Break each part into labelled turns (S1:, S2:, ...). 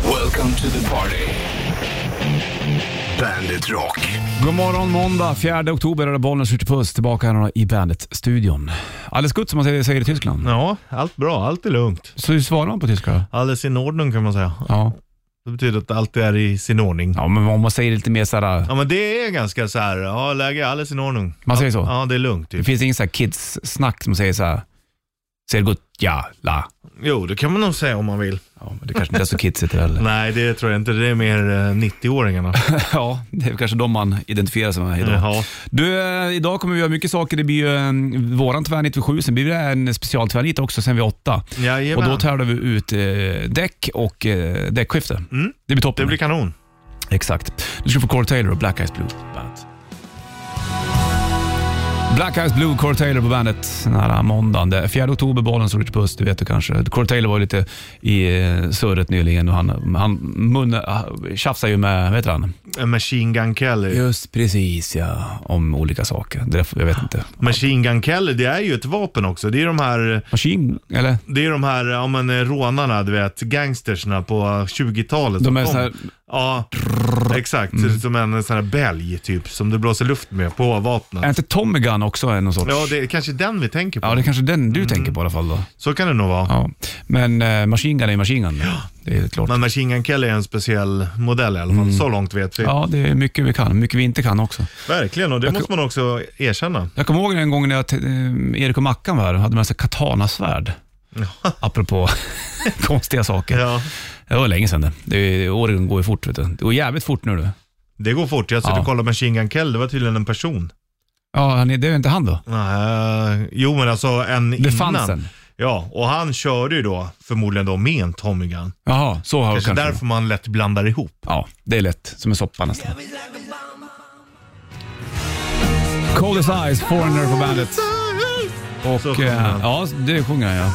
S1: Welcome to the party. Bandit Rock.
S2: God morgon måndag 4 oktober är det Bollnäs skjuter puss tillbaka här i Bandet-studion. Alles gut som man säger, säger i Tyskland.
S3: Ja, allt bra. Allt är lugnt.
S2: Så hur svarar man på tyska?
S3: Alldeles i ordning kan man säga.
S2: Ja.
S3: Det betyder att allt är i sin ordning.
S2: ja, men om man säger lite mer såhär,
S3: Ja, men det är ganska så här. Ja, läge är alldeles i ordning.
S2: man säger så.
S3: Ja, det är lugnt
S2: Det
S3: typ.
S2: finns ingen såhär kids-snack som säger såhär, ser gott, ja, la.
S3: Jo, det kan man nog säga om man vill.
S2: Ja, men det kanske inte är så kidsigt heller.
S3: Nej, det tror jag inte. Det är mer eh, 90-åringarna.
S2: ja, det är kanske de man identifierar sig med idag.
S3: Jaha.
S2: Du, eh, idag kommer vi göra mycket saker. Det blir ju eh, våran tvärnit vid sju, sen blir det en specialtvärnit också sen vid åtta. Och
S3: Jajamän.
S2: då tävlar vi ut eh, däck och eh, däckskifte. Det blir
S3: Mm. Det
S2: toppen.
S3: blir kanon.
S2: Exakt. Du ska få Core Taylor och Black Eyes Blue på bandet. Black Eyes Blue, Core Taylor på bandet den här måndagen. Det är 4 oktober, bollen som Richard Puss, det vet du kanske. Core Taylor var ju lite i eh, surret nyligen och han, han mun, eh, tjafsar ju med, vad heter han?
S3: Eh, Machine Gun Kelly.
S2: Just precis ja, om olika saker. Det är därför- Jag vet inte.
S3: Machine Gun Kelly, det är ju ett vapen också. Det är de här,
S2: Machine, eller?
S3: det är de här ja, men, eh, rånarna, du vet, gangstersna på 20-talet.
S2: De
S3: som
S2: är
S3: kom.
S2: så här,
S3: Ja, exakt.
S2: Mm.
S3: Som en sån här bälg typ, som du blåser luft med på vapnet.
S2: är inte Tommy Gun också någon sorts?
S3: Ja, det är kanske den vi tänker på.
S2: Ja, det är kanske den du tänker på i alla fall då.
S3: Så kan det nog vara.
S2: Ja. Men eh, Machine Gun är Machine Gun. Det är klart.
S3: Men Machine Gun Kelly är en speciell modell i alla fall. Så långt vet vi.
S2: Mm. Ja, det är mycket vi kan, mycket vi inte kan också.
S3: Verkligen, och det måste man också erkänna.
S2: Jag kommer ihåg en gång när jag, t- eh, Erik och Mackan var här och hade med sig katanasvärd. Apropå konstiga saker.
S3: Ja.
S2: Det var länge sedan det. det är, åren går ju fort. Vet du. Det går jävligt fort nu. Du.
S3: Det går fort. Jag satt
S2: Ja.
S3: och kollade Machine Gun Kelly, det var tydligen en person.
S2: Ja, han är, det är inte han då?
S3: Nej, jo, men alltså en
S2: Det
S3: innan.
S2: fanns en.
S3: Ja, och han körde ju då förmodligen då med en Tommy Gun.
S2: Jaha, så har
S3: Kanske,
S2: kanske.
S3: därför man lätt blandar ihop.
S2: Ja, det är lätt. Som en soppa nästan. Coldest Eyes, Foreigner på bandet.
S3: Så
S2: Och,
S3: sjunger
S2: eh,
S3: han.
S2: ja, det sjunger han ja.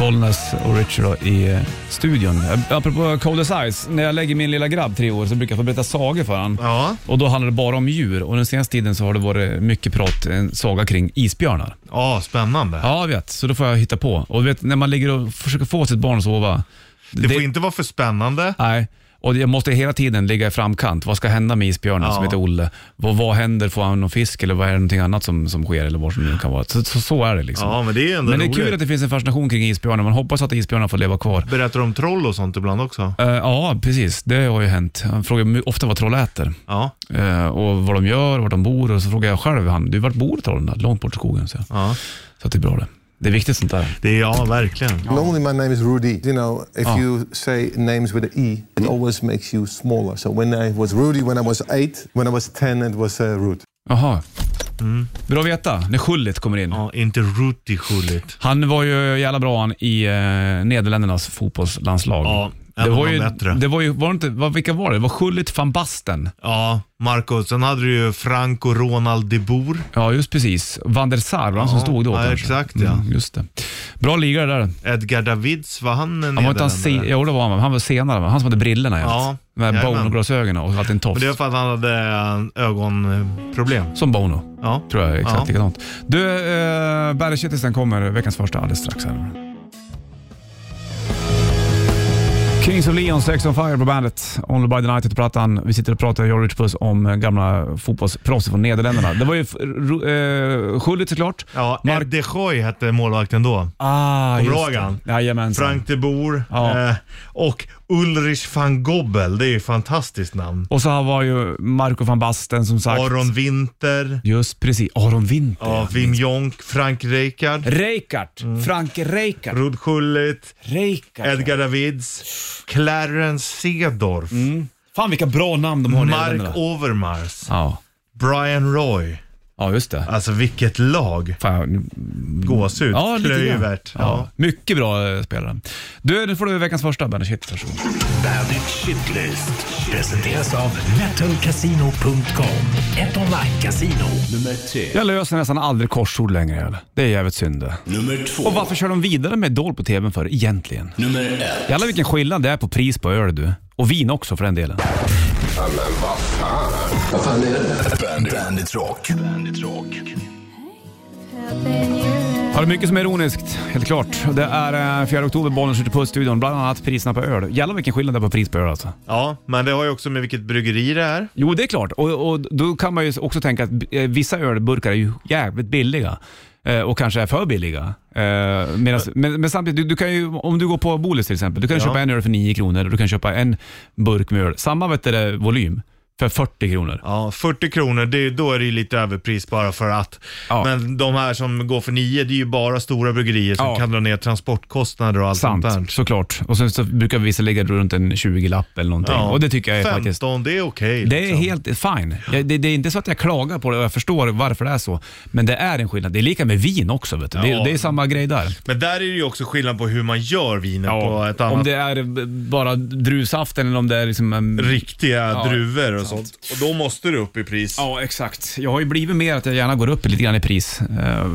S2: Bollnäs och Richard då i eh, studion. Eh, Apropå Coldest Eyes, när jag lägger min lilla grabb tre år så brukar jag få berätta sagor för honom.
S3: Ja,
S2: Och då handlar det bara om djur och den senaste tiden så har det varit mycket prat, en saga kring isbjörnar.
S3: ja spännande.
S2: Ja, jag vet. Så då får jag hitta på. Och du vet, när man ligger och försöker få sitt barn att sova.
S3: det får inte vara för spännande.
S2: Nej, och jag måste hela tiden ligga i framkant. Vad ska hända med isbjörnen
S3: Ja.
S2: som heter Olle? Vad, vad händer? Får han någon fisk eller vad är det någonting annat som, som sker? Eller vad som nu kan vara. Så, så, så är det liksom.
S3: Ja, men det är ju ändå
S2: men det är
S3: roligt.
S2: kul att det finns en fascination kring isbjörnar. Man hoppas att isbjörnar får leva kvar.
S3: Berättar om troll och sånt ibland också?
S2: Eh, ja, precis. Det har ju hänt. Han frågar mig ofta vad troll äter.
S3: Ja.
S2: Eh, och vad de gör, var de bor. Och så frågar jag själv han, du vart bor trollen? då?" Långt bort i skogen, så.
S3: ja.
S2: så att det är bra det. Det är viktigt sånt där.
S3: Det är, ja, verkligen.
S4: Normally, my name is Rudy. You know, if you say names with an E, it always makes you smaller. So when I was Rudy, when I was eight, when I was 10, it was uh, Ruud.
S2: Jaha. Bra att veta när Schullit kommer in.
S3: Mm. Ja, inte Ruti Schullit.
S2: Han var ju jävla bra han i eh, Nederländernas fotbollslandslag.
S3: Ja, en
S2: det
S3: av
S2: var
S3: de
S2: ju,
S3: bättre.
S2: Det var ju, var det inte, vad, vilka var det? Det var Schullit van Basten.
S3: Ja, Marco. Sen hade du ju Franco Ronald de Boer.
S2: Ja, just precis. Van der Sar, var han som
S3: Ja,
S2: stod då
S3: ja,
S2: kanske?
S3: exakt, ja.
S2: Mm, just det. Bra liga det där.
S3: Edgar Davids, var han en
S2: Han var inte han se,
S3: nederländare?
S2: jo, det var han. va? Han var senare, va? Han som hade brillorna jämt.
S3: Ja,
S2: Med
S3: jajamän.
S2: Bono-glasögonen och alltid en
S3: Men
S2: tofs.
S3: det var för att han hade eh, ögonproblem.
S2: Som Bono,
S3: Ja.
S2: tror jag. Exakt
S3: Ja.
S2: likadant. Du, eh, Bergkättisen kommer, veckans första, alldeles strax. Här. Kings of Leon, Sex on Fire på bandet. Only by the night heter plattan. Vi sitter och pratar, jag och Rich Puss, om eh, gamla fotbollsproffs från Nederländerna. Det var ju Ro- eh, Schullit såklart.
S3: Ja,
S2: Mark-
S3: Ed de Goy hette målvakten då.
S2: Ah,
S3: Kommer du
S2: just
S3: ihåg
S2: det.
S3: han?
S2: Jajamensan.
S3: Frank de Boer
S2: Ja.
S3: eh, och Ulrich van Gobbel. Det är ju ett fantastiskt namn.
S2: Och så han var ju Marco van Basten som sagt.
S3: Aron Winter,
S2: Just precis. Aron Winter.
S3: ja, Wim Jonk, Frank Rijkaard,
S2: Rijkaard. Frank Rijkaard.
S3: Rud Schullit,
S2: Rijkaard.
S3: Edgar Davids, Clarence Cedorf,
S2: Mm. Fan vilka bra namn de har i Nederländerna.
S3: Mark Overmars,
S2: Ja.
S3: Brian Roy.
S2: ja, just det.
S3: Alltså vilket lag.
S2: Fan,
S3: Gåshud.
S2: ja, lite grann.
S3: Klövert.
S2: Ja.
S3: Ja.
S2: Mycket bra eh, spelare. Du, nu får du veckans första Bandage Hits. varsågod.
S1: Bandit Shitlist. Presenteras av metalcasino.com. Ett online-casino. Nummer tre.
S2: Jag löser nästan aldrig korsord längre. Eller? Det är jävligt synd det.
S1: Nummer två.
S2: Och varför kör de vidare med Idol på TVn för egentligen?
S1: Nummer ett.
S2: Jävlar vilken skillnad det är på pris på öl du. Och vin också för den delen.
S1: Bandit, Bandit Rock. Bandit Rock.
S5: Helping you out.
S2: Ja, det är mycket som är ironiskt, helt klart. Det är eh, 4 oktober, bollen skjuter på studion, bland annat priserna på öl. Jävlar vilken skillnad det är på pris på öl alltså.
S3: Ja, men det har ju också med vilket bryggeri det är.
S2: Jo, det är klart. Och, och då kan man ju också tänka att eh, vissa ölburkar är ju jävligt billiga eh, och kanske är för billiga. Eh, medans, men, men samtidigt, du, du kan ju, om du går på Bolis till exempel, du kan
S3: Ja.
S2: köpa en öl för 9 kronor och du kan köpa en burk med öl, samma vet du, det, volym, för 40 kronor.
S3: Ja, 40 kronor, det, då är det ju lite överpris bara för att.
S2: Ja.
S3: Men de här som går för 9, det är ju bara stora bryggerier som
S2: Ja.
S3: kan dra ner transportkostnader och allt sånt
S2: Sant,
S3: där.
S2: såklart. Och sen så brukar vissa lägga runt en 20-lapp eller någonting. Och det tycker jag är
S3: 15,
S2: faktiskt...
S3: det är okej.
S2: Det är
S3: liksom.
S2: helt fine. Jag, det, det är inte så att jag klagar på det och jag förstår varför det är så. Men det är en skillnad. Det är lika med vin också. Vet du.
S3: Ja.
S2: Det, det är samma grej där.
S3: Men där är det ju också skillnad på hur man gör vinet på ett annat
S2: om det är b- bara druvsaften eller om det är liksom... en-
S3: riktiga
S2: Ja,
S3: druvor och sånt. Och då måste du upp i pris.
S2: Ja, exakt. Jag har ju blivit mer att jag gärna går upp lite grann i pris eh,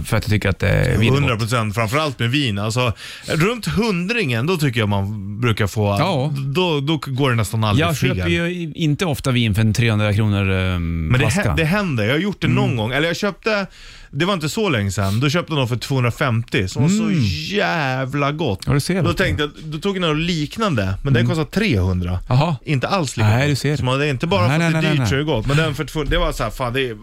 S2: för att jag tycker att det är vin är gott.
S3: 100 procent, framförallt med vin. Alltså, runt hundringen, då tycker jag man brukar få...
S2: Ja.
S3: Då, då går det nästan aldrig
S2: Jag
S3: fel.
S2: köper ju inte ofta vin för en 300 kronor eh,
S3: Men det,
S2: flaska. Mm.
S3: hä- det händer. Jag har gjort det någon gång. Eller jag köpte, det var inte så länge sedan, då köpte jag någon för 250 som var så jävla gott.
S2: Ja, Mm. du ser,
S3: då
S2: vet du.
S3: tänkte jag, då tog jag något liknande, men den kostade 300.
S2: Jaha.
S3: Inte alls lika
S2: Nej,
S3: gott.
S2: du ser.
S3: Så man, det är inte bara
S2: Nej,
S3: för
S2: nej,
S3: att det
S2: nej,
S3: är dyrt
S2: nej,
S3: så är
S2: nej.
S3: det gott. Men den för 200, det var så här, fan det är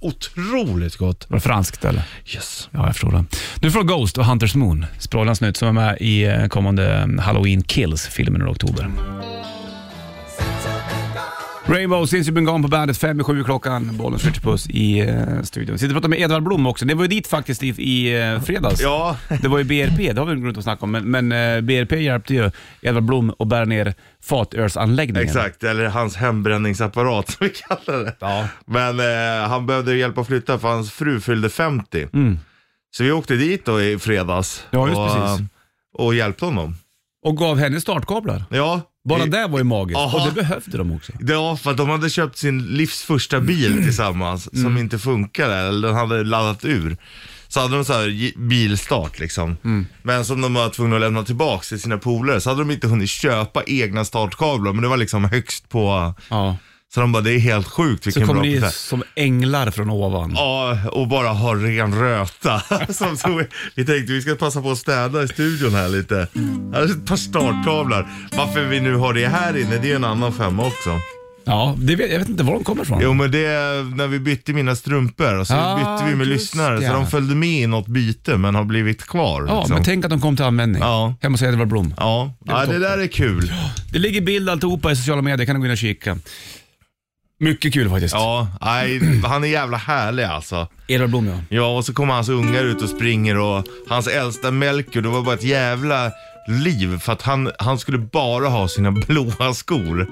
S3: otroligt gott.
S2: Var det franskt eller?
S3: Yes.
S2: Ja, jag förstår det. Nu får Ghost och Hunters Moon, sprallans nytt, som är med i eh, kommande eh, Halloween Kills-filmen i oktober. Rainbow since you've been gone på bandet, fem i sju klockan. Bollen skjuter puss i eh, studion. Sitter och pratar med Edvard Blom också. Det var ju dit faktiskt i, i eh, fredags.
S3: Ja,
S2: Det var ju BRP, det har vi inte runt att snacka om, men, men eh, BRP hjälpte ju Edvard Blom att bära ner fatölsanläggningen.
S3: Exakt, eller hans hembränningsapparat som vi kallar det.
S2: Ja.
S3: Men eh, han behövde hjälp att flytta för hans fru fyllde 50. Så vi åkte dit då i fredags
S2: Mm. Ja, just
S3: och,
S2: precis.
S3: eh, och hjälpte honom.
S2: Och gav henne startkablar.
S3: Ja,
S2: Bara
S3: i-
S2: det var ju magiskt.
S3: Aha.
S2: Och det behövde de också.
S3: Ja, för att de hade köpt sin livs första
S2: Mm.
S3: bil tillsammans som inte funkade, eller den hade laddat ur. Så hade de så här gi- bilstart liksom.
S2: Mm.
S3: Men som de var tvungna att lämna tillbaka till sina polare så hade de inte hunnit köpa egna startkablar, men det var liksom högst på...
S2: Ja.
S3: Så de bara, det är helt sjukt
S2: Så
S3: vilken
S2: kommer
S3: bra
S2: ni
S3: present.
S2: som änglar från ovan.
S3: Ja, och bara ha ren röta. Som så vi, vi tänkte vi ska passa på att städa i studion här lite. Här är ett par startkablar. Varför vi nu har det här inne, det är en annan femma också.
S2: Ja, det vet, jag vet inte var de kommer ifrån.
S3: Jo men det är när vi bytte mina strumpor och så
S2: Ah,
S3: bytte vi med
S2: just
S3: lyssnare
S2: ja.
S3: så de följde med i något byte men har blivit kvar.
S2: ja,
S3: liksom.
S2: men tänk att de kom till användning.
S3: Ja.
S2: Hemma hos Edvard Blom.
S3: ja.
S2: är
S3: ja det
S2: toppen.
S3: där är kul.
S2: Det ligger bild alltihopa i sociala medier, kan du gå in och kika. Mycket kul faktiskt.
S3: Ja, nej, han är jävla härlig alltså.
S2: Edvard Blom ja.
S3: Ja, och så kommer hans ungar ut och springer och hans äldsta Melker, det var bara ett jävla liv för att han, han skulle bara ha sina blåa skor.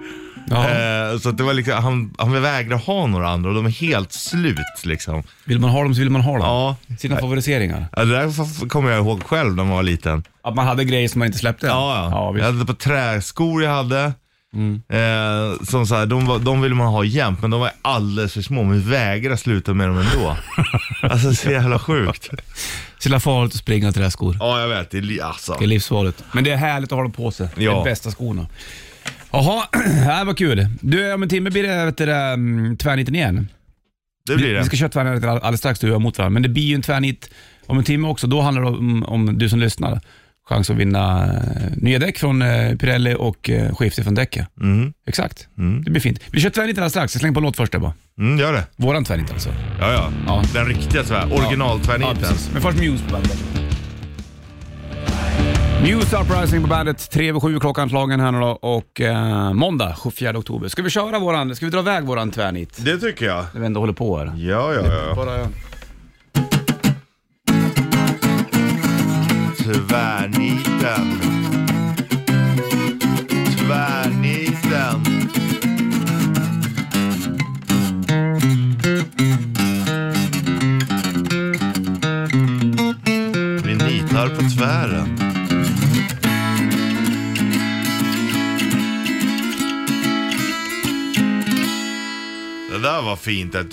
S2: ja.
S3: Eh, så att det var liksom, han, han vägrar ha några andra och de är helt slut liksom.
S2: Vill man ha dem så vill man ha dem.
S3: Ja.
S2: Sina favoriseringar.
S3: Ja, Det där kommer jag ihåg själv när man var liten.
S2: Att man hade grejer som man inte släppte.
S3: Ja, ja.
S2: visst. Mm.
S3: jag hade på träskor jag hade. Eh, som så här, de, var, de ville man ha jämt, men de var alldeles för små. Men vägrade sluta med dem ändå. alltså så jävla sjukt.
S2: Så det är farligt att springa till träskor.
S3: Ja, jag vet. Det är li- alltså.
S2: Det är livsfarligt. Men det är härligt att ha dem på sig. Det är
S3: Ja.
S2: de bästa skorna. Jaha, här vad kul. Du, om en timme blir det vet du, det, mm, tvärniten igen.
S3: Det blir
S2: Vi, vi
S3: det.
S2: ska köra tvärnit all- alldeles strax, du och jag mot varandra. Men det blir ju en tvärnit om en timme också. Då handlar det om, om du som lyssnar. Chans att vinna eh, nya däck från eh, Pirelli och eh, skifte från däcket. Exakt, det blir fint. Vi kör tvärnit alldeles strax. Jag slänger på en låt först där bara.
S3: Mm, gör det.
S2: Våran tvärnit alltså.
S3: Ja, ja.
S2: Ja.
S3: Den riktiga tvär.
S2: Ja,
S3: Originaltvärniten.
S2: precis. Men först Muse på bandet. Muse Uprising på bandet, 3 över 7 klockan slagen här nu då och eh, måndag 4 oktober. Ska vi köra våran, ska vi dra iväg våran tvärnit?
S3: det tycker jag.
S2: När vi ändå håller på här.
S3: Ja, ja, ja.
S2: Bara...
S3: Tvärniten. Tvärniten. Vi nitar på tvären. Det där var fint. Det-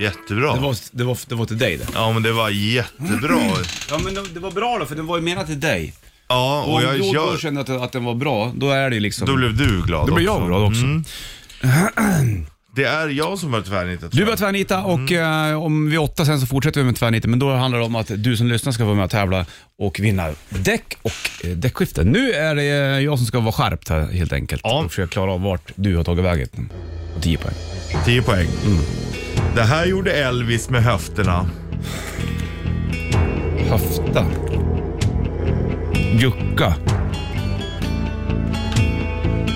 S3: Jättebra.
S2: Det, var, det, var, det var till dig det.
S3: Ja men det var jättebra.
S2: Ja men det var bra då, för den var ju menad till dig.
S3: Ja och,
S2: Och
S3: jag
S2: om du då
S3: gör...
S2: kände att, att den var bra, då är det ju liksom...
S3: Då blev du glad
S2: Då blir jag
S3: också.
S2: glad också.
S3: Det är jag som har tvärnitat.
S2: Du börjar tvärnita och eh, om vi är åtta sen så fortsätter vi med tvärniten. Men då handlar det om att du som lyssnar ska vara med och tävla och vinna däck och eh, däckskiften. Nu är det eh, jag som ska vara skärpt här helt enkelt
S3: Ja.
S2: och försöka klara av vart du har tagit vägen. Och 10 poäng.
S3: 10 poäng. Mm. Det här gjorde Elvis med höfterna.
S2: Höfta. Jukka.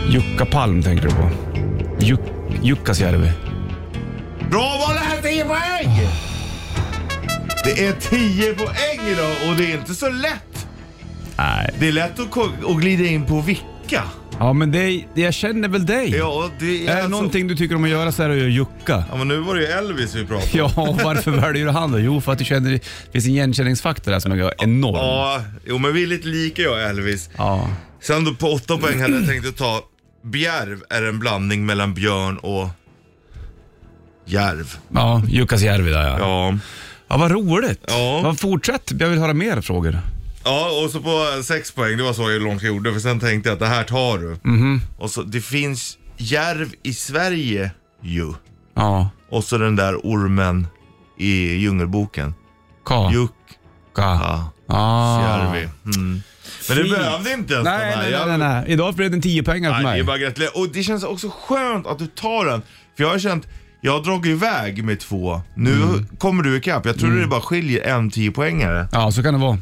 S2: Jukka Palm tänker du på. Juk, Jukkasjärvi.
S3: Bra val, det här är 10 poäng! Det är 10 poäng idag och det är inte så lätt.
S2: Nej.
S3: Det är lätt att, ko- att glida in på vilka.
S2: Ja, men det, jag känner väl dig.
S3: Ja, det är
S2: Är det
S3: alltså-
S2: någonting du tycker om att göra så är det ju att jucka.
S3: Ja, men nu var det ju Elvis vi pratade om.
S2: Ja, och varför väljer du han då? Jo, för att du känner, det finns en igenkänningsfaktor där som är enorm.
S3: Ja, jo men vi är lite lika jag och Elvis.
S2: Ja.
S3: Sen då på åtta poäng hade jag tänkt att ta Bjärv är en blandning mellan björn och järv.
S2: Ja, Jukkasjärvi där ja.
S3: Ja.
S2: Ja, vad roligt.
S3: Ja.
S2: Vad- Fortsätt, jag vill höra mer frågor.
S3: Ja, och så på sex poäng, det var så hur långt jag gjorde, för sen tänkte jag att det här tar du.
S2: Mhm.
S3: Och så, det finns järv i Sverige ju.
S2: Ja,
S3: Och så den där ormen i Djungelboken.
S2: ka.
S3: Jukka.
S2: Jukka. Ah.
S3: Järvi. Mm. Men du
S2: Fint.
S3: behövde inte ens
S2: Nej,
S3: de här.
S2: nej,
S3: Jag-
S2: nej, nej, nej. Idag blev det en 10 pengar för
S3: Nej, det
S2: mig.
S3: är bara att gratulera. Och det känns också skönt att du tar den. För jag har känt, jag har dragit iväg med två. Nu
S2: Mm.
S3: kommer du ikapp. Jag tror det bara skiljer en 10 poängare.
S2: Ja, så kan det vara.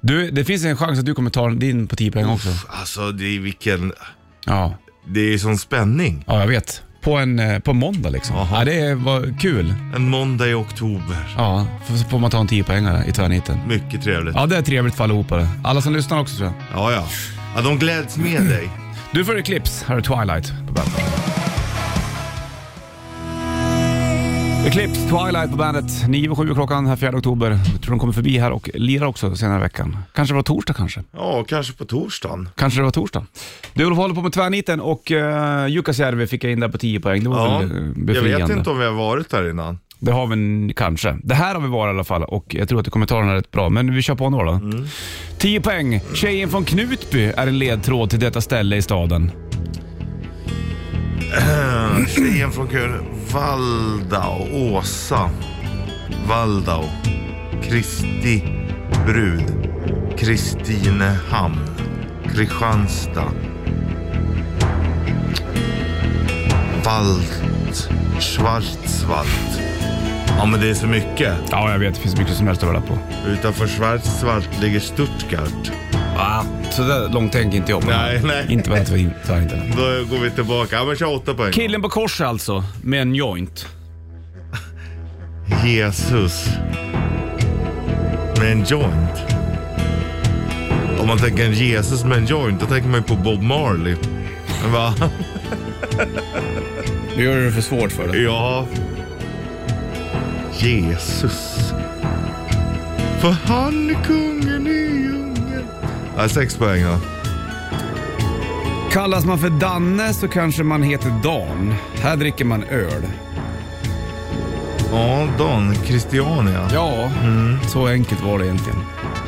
S2: Du, det finns en chans att du kommer ta din på 10 pengar också.
S3: Alltså det är vilken,
S2: Ja.
S3: det är sån spänning.
S2: ja, jag vet. På en eh, på måndag liksom.
S3: Jaha.
S2: Ja, det var kul.
S3: En måndag i oktober.
S2: Ja, så får man ta en 10 pengar i tvärniten.
S3: Mycket trevligt.
S2: Ja, det är trevligt för allihopa det. Alla som lyssnar också tror jag.
S3: Ja, ja. ja de gläds med dig.
S2: Du får Eclipse, här är Twilight på bandet. Eclipse, Twilight på bandet. 9 och 7 klockan här 4 oktober. Jag tror de kommer förbi här och lirar också senare i veckan. Kanske det var torsdag kanske.
S3: Ja, kanske på torsdagen.
S2: Kanske det var torsdag. Du Olof håller på med tvärniten och uh, Jukkasjärvi fick jag in där på 10 poäng. Det var
S3: Ja,
S2: väl eh,
S3: jag
S2: befriande.
S3: vet inte om vi har varit där innan.
S2: Det har vi n- kanske. Det här har vi varit i alla fall och jag tror att du kommer ta den här rätt bra. Men vi kör på några då. 10 poäng. Tjejen från Knutby är en ledtråd till detta ställe i staden.
S3: Tjejen från kön. Valdau. Åsa. Valdau. Kristi brud. Kristinehamn. Kristianstad. Wald. Schwarzwald. Ja men det är så mycket.
S2: Ja, jag vet. Det finns mycket som helst att hålla på.
S3: Utanför Schwarzwald ligger Stuttgart.
S2: Ah, så där långt tänker inte jag på.
S3: Nej, nej.
S2: Inte vad jag inte- vad jag inte.
S3: Då går vi tillbaka. Ja men kör åtta poäng.
S2: Killen på kors alltså, med en joint.
S3: Jesus. Med en joint. Om man tänker en Jesus med en joint, då tänker man ju på Bob Marley. Va?
S2: Nu gör du det för svårt för dig.
S3: Ja. Jesus. För han är kungen i djungeln. Ja, sex poäng då.
S2: Kallas man för Danne så kanske man heter Dan. Här dricker man öl.
S3: Ja, Dan. Christiania.
S2: Ja, Mm. så enkelt var det egentligen.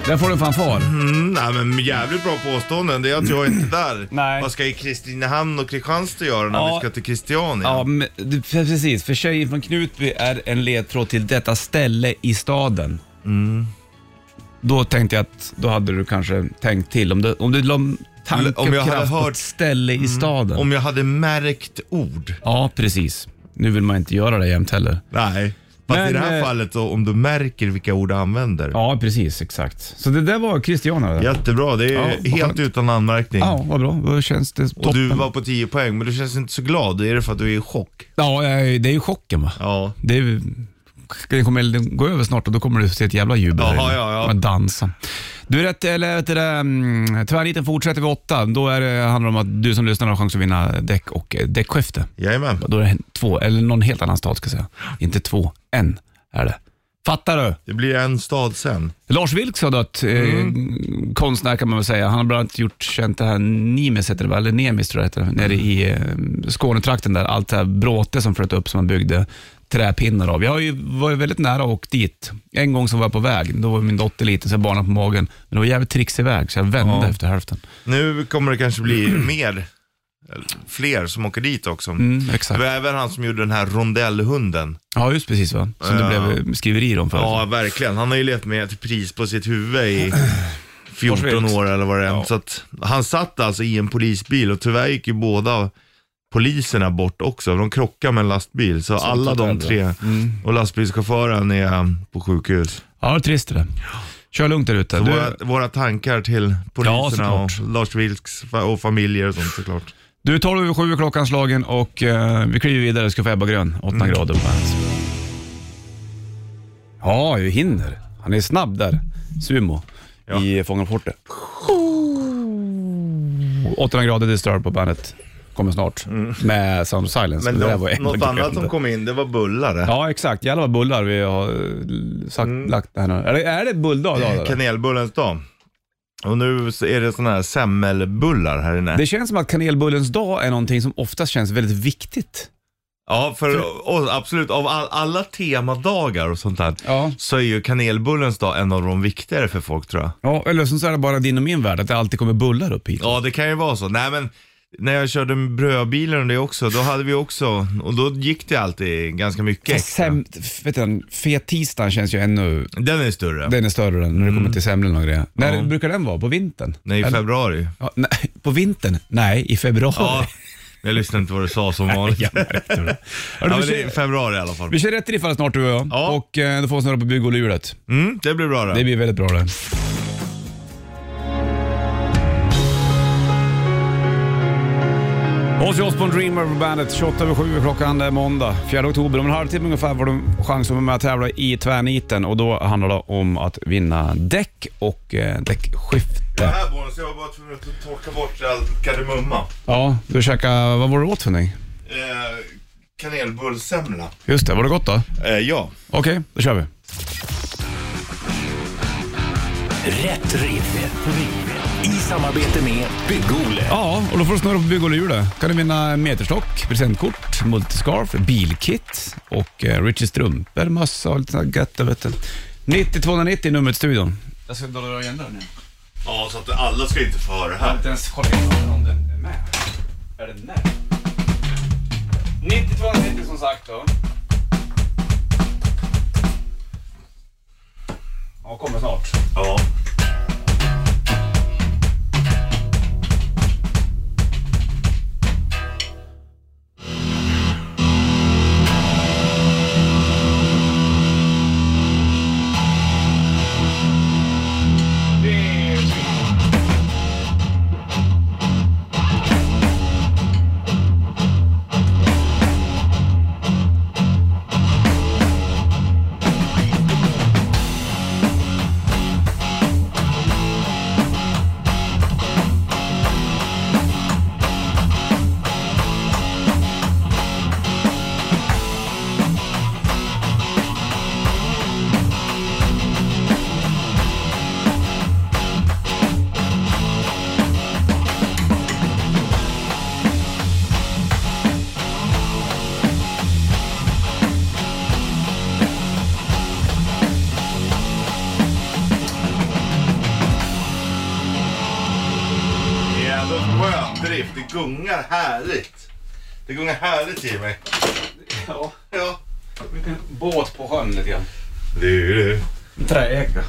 S2: Där får du en fanfar.
S3: Mm, nej men jävligt bra påståenden. Det är att jag inte är där.
S2: Nej.
S3: Vad ska i Kristinehamn och Kristianstad göra när
S2: Ja.
S3: vi ska till Christiania?
S2: Ja, men, det- för- precis. För tjejen från Knutby är en ledtråd till detta ställe i staden.
S3: Mm.
S2: Då tänkte jag att då hade du kanske tänkt till. Om du, om du la tanke
S3: Om jag
S2: och
S3: hade
S2: kraft på
S3: hört- Mm.
S2: ett ställe i staden.
S3: Om jag hade märkt ord.
S2: Ja, precis. Nu vill man inte göra det jämt heller.
S3: Nej. Fast
S2: Men,
S3: i det här
S2: eh,
S3: fallet då, om du märker vilka ord du använder.
S2: Ja, precis. Exakt. Så det där var Christiana. det där.
S3: Jättebra, det är
S2: Ja, vad
S3: helt
S2: skönt.
S3: utan anmärkning.
S2: Ja, vad bra. Då känns det
S3: Och
S2: toppen.
S3: du var på 10 poäng, men du känns inte så glad. Är det för att du är i chock?
S2: Ja, jag- det är ju chocken va.
S3: Ja.
S2: Det, är, det kommer elden gå över snart och då kommer du se ett jävla jubel.
S3: Jaha,
S2: där inne.
S3: ja, ja.
S2: Och dansa. Du, rätt, eller vet du det, mm, tvärniten fortsätter vid åtta. Då är det, handlar det om att du som lyssnar har chans att vinna däck och eh, däckskifte.
S3: Jajamän.
S2: Då är det två, eller någon helt annan stad ska jag säga. Inte två, en är det. Fattar du?
S3: Det blir en stad sen.
S2: Lars Vilks har dött. Eh,
S3: Mm.
S2: Konstnär kan man väl säga. Han har bland annat gjort, känt det här Nimes, heter det, va? eller Nemis tror jag det heter, nere i eh, Skånetrakten där. Allt det här bråte som flöt upp som man byggde träpinnar av. Jag har ju varit väldigt nära och åkt dit. En gång så var jag på väg, då var min dotter liten, så jag barnade på magen. Men det var jävligt trixig väg, så jag vände efter hälften.
S3: Nu kommer det kanske bli mer eller fler som åker dit också.
S2: Mm, exakt.
S3: Det var även han som gjorde den här rondellhunden.
S2: Ja, just precis va. Som det
S3: Ja.
S2: blev eh, skriverier om förut.
S3: Ja, verkligen. Han har ju levt med ett pris på sitt huvud i 14
S2: Varsågod.
S3: år eller vad det är.
S2: Ja.
S3: Så att, han satt alltså i en polisbil och tyvärr gick ju båda poliserna bort också. De krockade med en lastbil. Så alla de
S2: ändå.
S3: tre
S2: Mm.
S3: och lastbilschauffören är um, på sjukhus.
S2: Ja, det är trist det där. Kör lugnt där ute.
S3: Så
S2: Du,
S3: våra, våra tankar till poliserna
S2: såklart.
S3: och Lars Vilks fa- och familjer och sånt såklart.
S2: du är 12 över 7 är klockan slagen och eh, vi kliver vidare. Ska få Ebba Grön, 8
S3: Mm.
S2: grader på hans. Ja, vi hinner. Han är snabb där. Sumo i Fångarna på fortet. 800 grader disturbed på bandet. Kommer snart med Sound of Silence.
S3: Mm. Men
S2: det där var
S3: något,
S2: Ebba
S3: något
S2: Grön
S3: annat
S2: där.
S3: som kom in, det var bullare.
S2: Ja, exakt. Jävlar vad bullar vi har eh, sagt,
S3: Mm.
S2: lagt här nu. Är det, är det bulldag
S3: Eh,
S2: idag? eller?
S3: Kanelbullens dag. Och nu så är det såna här semmelbullar här inne.
S2: Det känns som att kanelbullens dag är någonting som oftast känns väldigt viktigt.
S3: Ja, för, och, absolut. Av all, alla temadagar och sånt där
S2: Ja.
S3: så är ju kanelbullens dag en av de viktigare för folk tror jag.
S2: Ja, eller som så är det bara din och min värld, att det alltid kommer bullar upp hit.
S3: Ja, det kan ju vara så. Nej, men när jag körde brödbilen och det också, då hade vi också, och då gick det alltid ganska mycket extra.
S2: Sem, vet du, fettisdagen känns ju ännu...
S3: Den är större.
S2: Den är större än när det kommer till semlorna och grejer. När brukar den vara? På vintern?
S3: Mm. Nej, i
S2: Eller-
S3: februari.
S2: Ja, nej, på vintern? Nej, i februari.
S3: Ja, jag lyssnade inte vad du sa som vanligt.
S2: Jag
S3: ja,
S2: märkte det. Hörru,
S3: men
S2: vi,
S3: det är
S2: kör,
S3: februari i alla fall.
S2: vi kör rätt riffare snart du och jag
S3: Ja.
S2: och eh, då får vi snurra på bygghjulet.
S3: Mm, det blir bra det.
S2: Det blir väldigt bra det. Ozzy Osbourne Dreamer på bandet. 28 över 7 är klockan. Det är måndag 4 oktober. Om en halvtimme ungefär får du chans att vara med och tävla i tvärniten och då handlar det om att vinna däck och eh, däckskifte.
S3: här Bonus, jag var bara tvungen att torka bort all kardemumma.
S2: Ja, du käkade, vad var det åt för någonting?
S3: Eh, kanelbullsemla.
S2: Just det, var det gott då?
S3: Eh, ja.
S2: Okej, då kör vi.
S1: Rätt riff. I samarbete med Bygg-Ole.
S2: Ja, och då får du snurra på bygghjulet. kan du vinna en meterstock, presentkort, multiscarf, bilkit och eh, Richies strumpor, mössa och lite sånt gött. där, vet du. 9290 är numret till studion. Jag ska dra igen den nu.
S3: Ja, så att alla ska inte få höra det här.
S2: inte ens kolla in om den är med. Är den med? 9290 som sagt då. Ja, kommer snart.
S3: Ja. Jävla skön drift. Det gungar härligt. Det gungar härligt i mig.
S2: Ja,
S3: Ja.
S2: båt på sjön lite grann.
S3: Du, du.
S2: Träägda.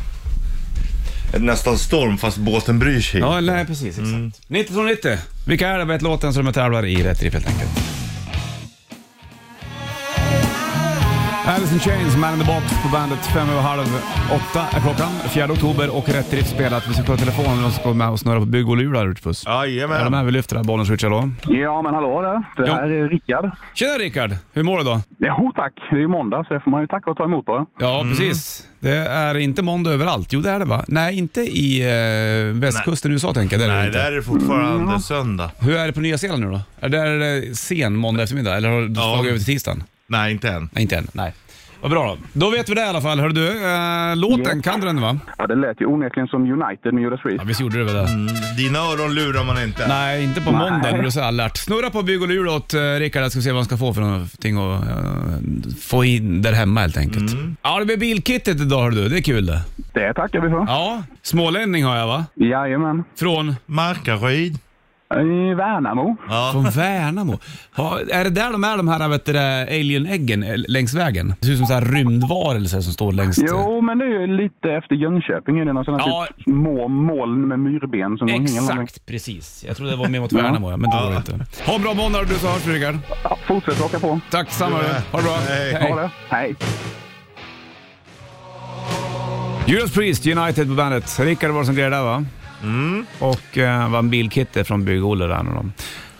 S3: Nästan storm fast båten bryr sig.
S2: Ja, nej precis. Exakt. 9290. Mm. Vilka är det? Vet låten så de tävlar i rätt riff helt enkelt. Alice in Chains, Man in the Box på bandet. Fem över halv åtta är klockan. 4 oktober och rätt riff spelat. Vi ska kolla telefonen med någon som kommer med och snurra på bygg och lurar Rutfuss. Är du
S3: Jajamän.
S2: med? Vi lyfter den här bollen switchar då.
S5: Ja, men hallå där. Det
S2: Ja.
S5: här är Rickard.
S2: Tjena Rickard! Hur mår du då?
S5: Jo tack, det är ju måndag så det får man ju tacka och ta emot bara.
S2: Ja, precis. Det är inte måndag överallt. Jo, det är det va? Nej, inte i eh, västkusten i USA tänker jag. Det är det
S3: Nej,
S2: inte.
S3: där är det fortfarande söndag.
S2: Hur är det på Nya Zeeland nu då? Är det, är det sen måndag eftermiddag eller har du
S3: Ja.
S2: slagit över till tisdagen?
S3: Nej, inte än.
S2: Nej, inte än. Nej. Vad bra då. Då vet vi det i alla fall. Hörru du, eh, låten, kan du den va?
S5: Ja, det lät ju onekligen som United med Judas Priest.
S2: Ja, visst gjorde du väl det?
S3: Dina öron lurar man inte.
S2: Mm, Nej, inte på måndag när du är så alert. Snurra på bygg och lur åt eh, Rickard, jag ska se vad han ska få för någonting och eh, få in där hemma helt enkelt. Ja, det blir bilkittet idag hörru du. Det är kul det.
S5: Det tackar vi för.
S2: Ja, smålänning har jag va?
S5: Jajamän. Eh,
S2: Från?
S3: Markaryd.
S5: I Värnamo.
S3: Ja.
S2: Från Värnamo. Ja, är det där de är de här vet du, det, alien-äggen eh, längs vägen? Det ser ut som så här rymdvarelser som står längs...
S5: Jo, men det är ju lite efter Jönköping. Är det någon sån här
S2: Ja.
S5: typ små moln med myrben som går hängande?
S2: Exakt, precis. Jag trodde det var mer mot Värnamo, ja, men det var det inte. Ha en bra måndag du så hörs vi Rickard.
S5: Ja, fortsätt åka på.
S2: Tack samma. Ha det bra.
S3: Hej.
S5: Ha det. Hej.
S2: Judas Priest, United på bandet. Rickard var det som grejade där va?
S3: Mm.
S2: Och eh, vann bilkitte från Bygg-Olle där. med dem.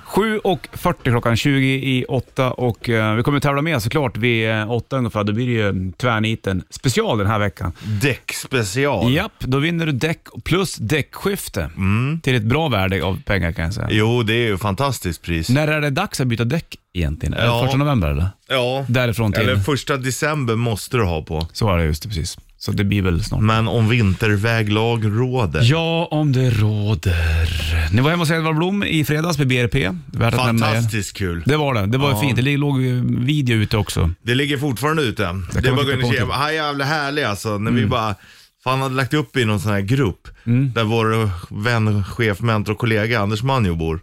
S2: 7.40 klockan, 20 i 8 och eh, vi kommer tävla med såklart vid eh, 8 ungefär. Då blir det ju mm, tvärniten special den här veckan.
S3: Däckspecial.
S2: Japp, då vinner du däck plus däckskifte
S3: Mm.
S2: till ett bra värde av pengar kan jag säga.
S3: Jo, det är ju fantastiskt pris.
S2: När är det dags att byta däck egentligen? Är det
S3: Ja.
S2: första november eller?
S3: Ja.
S2: Därifrån till.
S3: Eller första december måste du ha på.
S2: Så är det just det, precis. Så det blir väl snart.
S3: Men om vinterväglag råder.
S2: Ja, om det råder. Ni var hemma hos Edvard Blom i fredags med BRP. Värt att nämna igen.
S3: Fantastiskt kul.
S2: Det var det. Det var ju fint. Det låg ju video ute också.
S3: Det ligger fortfarande ute. Det är
S2: man
S3: bara att gå
S2: titta
S3: in och
S2: på
S3: kika.
S2: till.
S3: Han är jävla härlig alltså. När vi bara, fan hade lagt upp i någon sån här grupp. Där vår vän, chef, mentor och kollega Anders Manjo bor.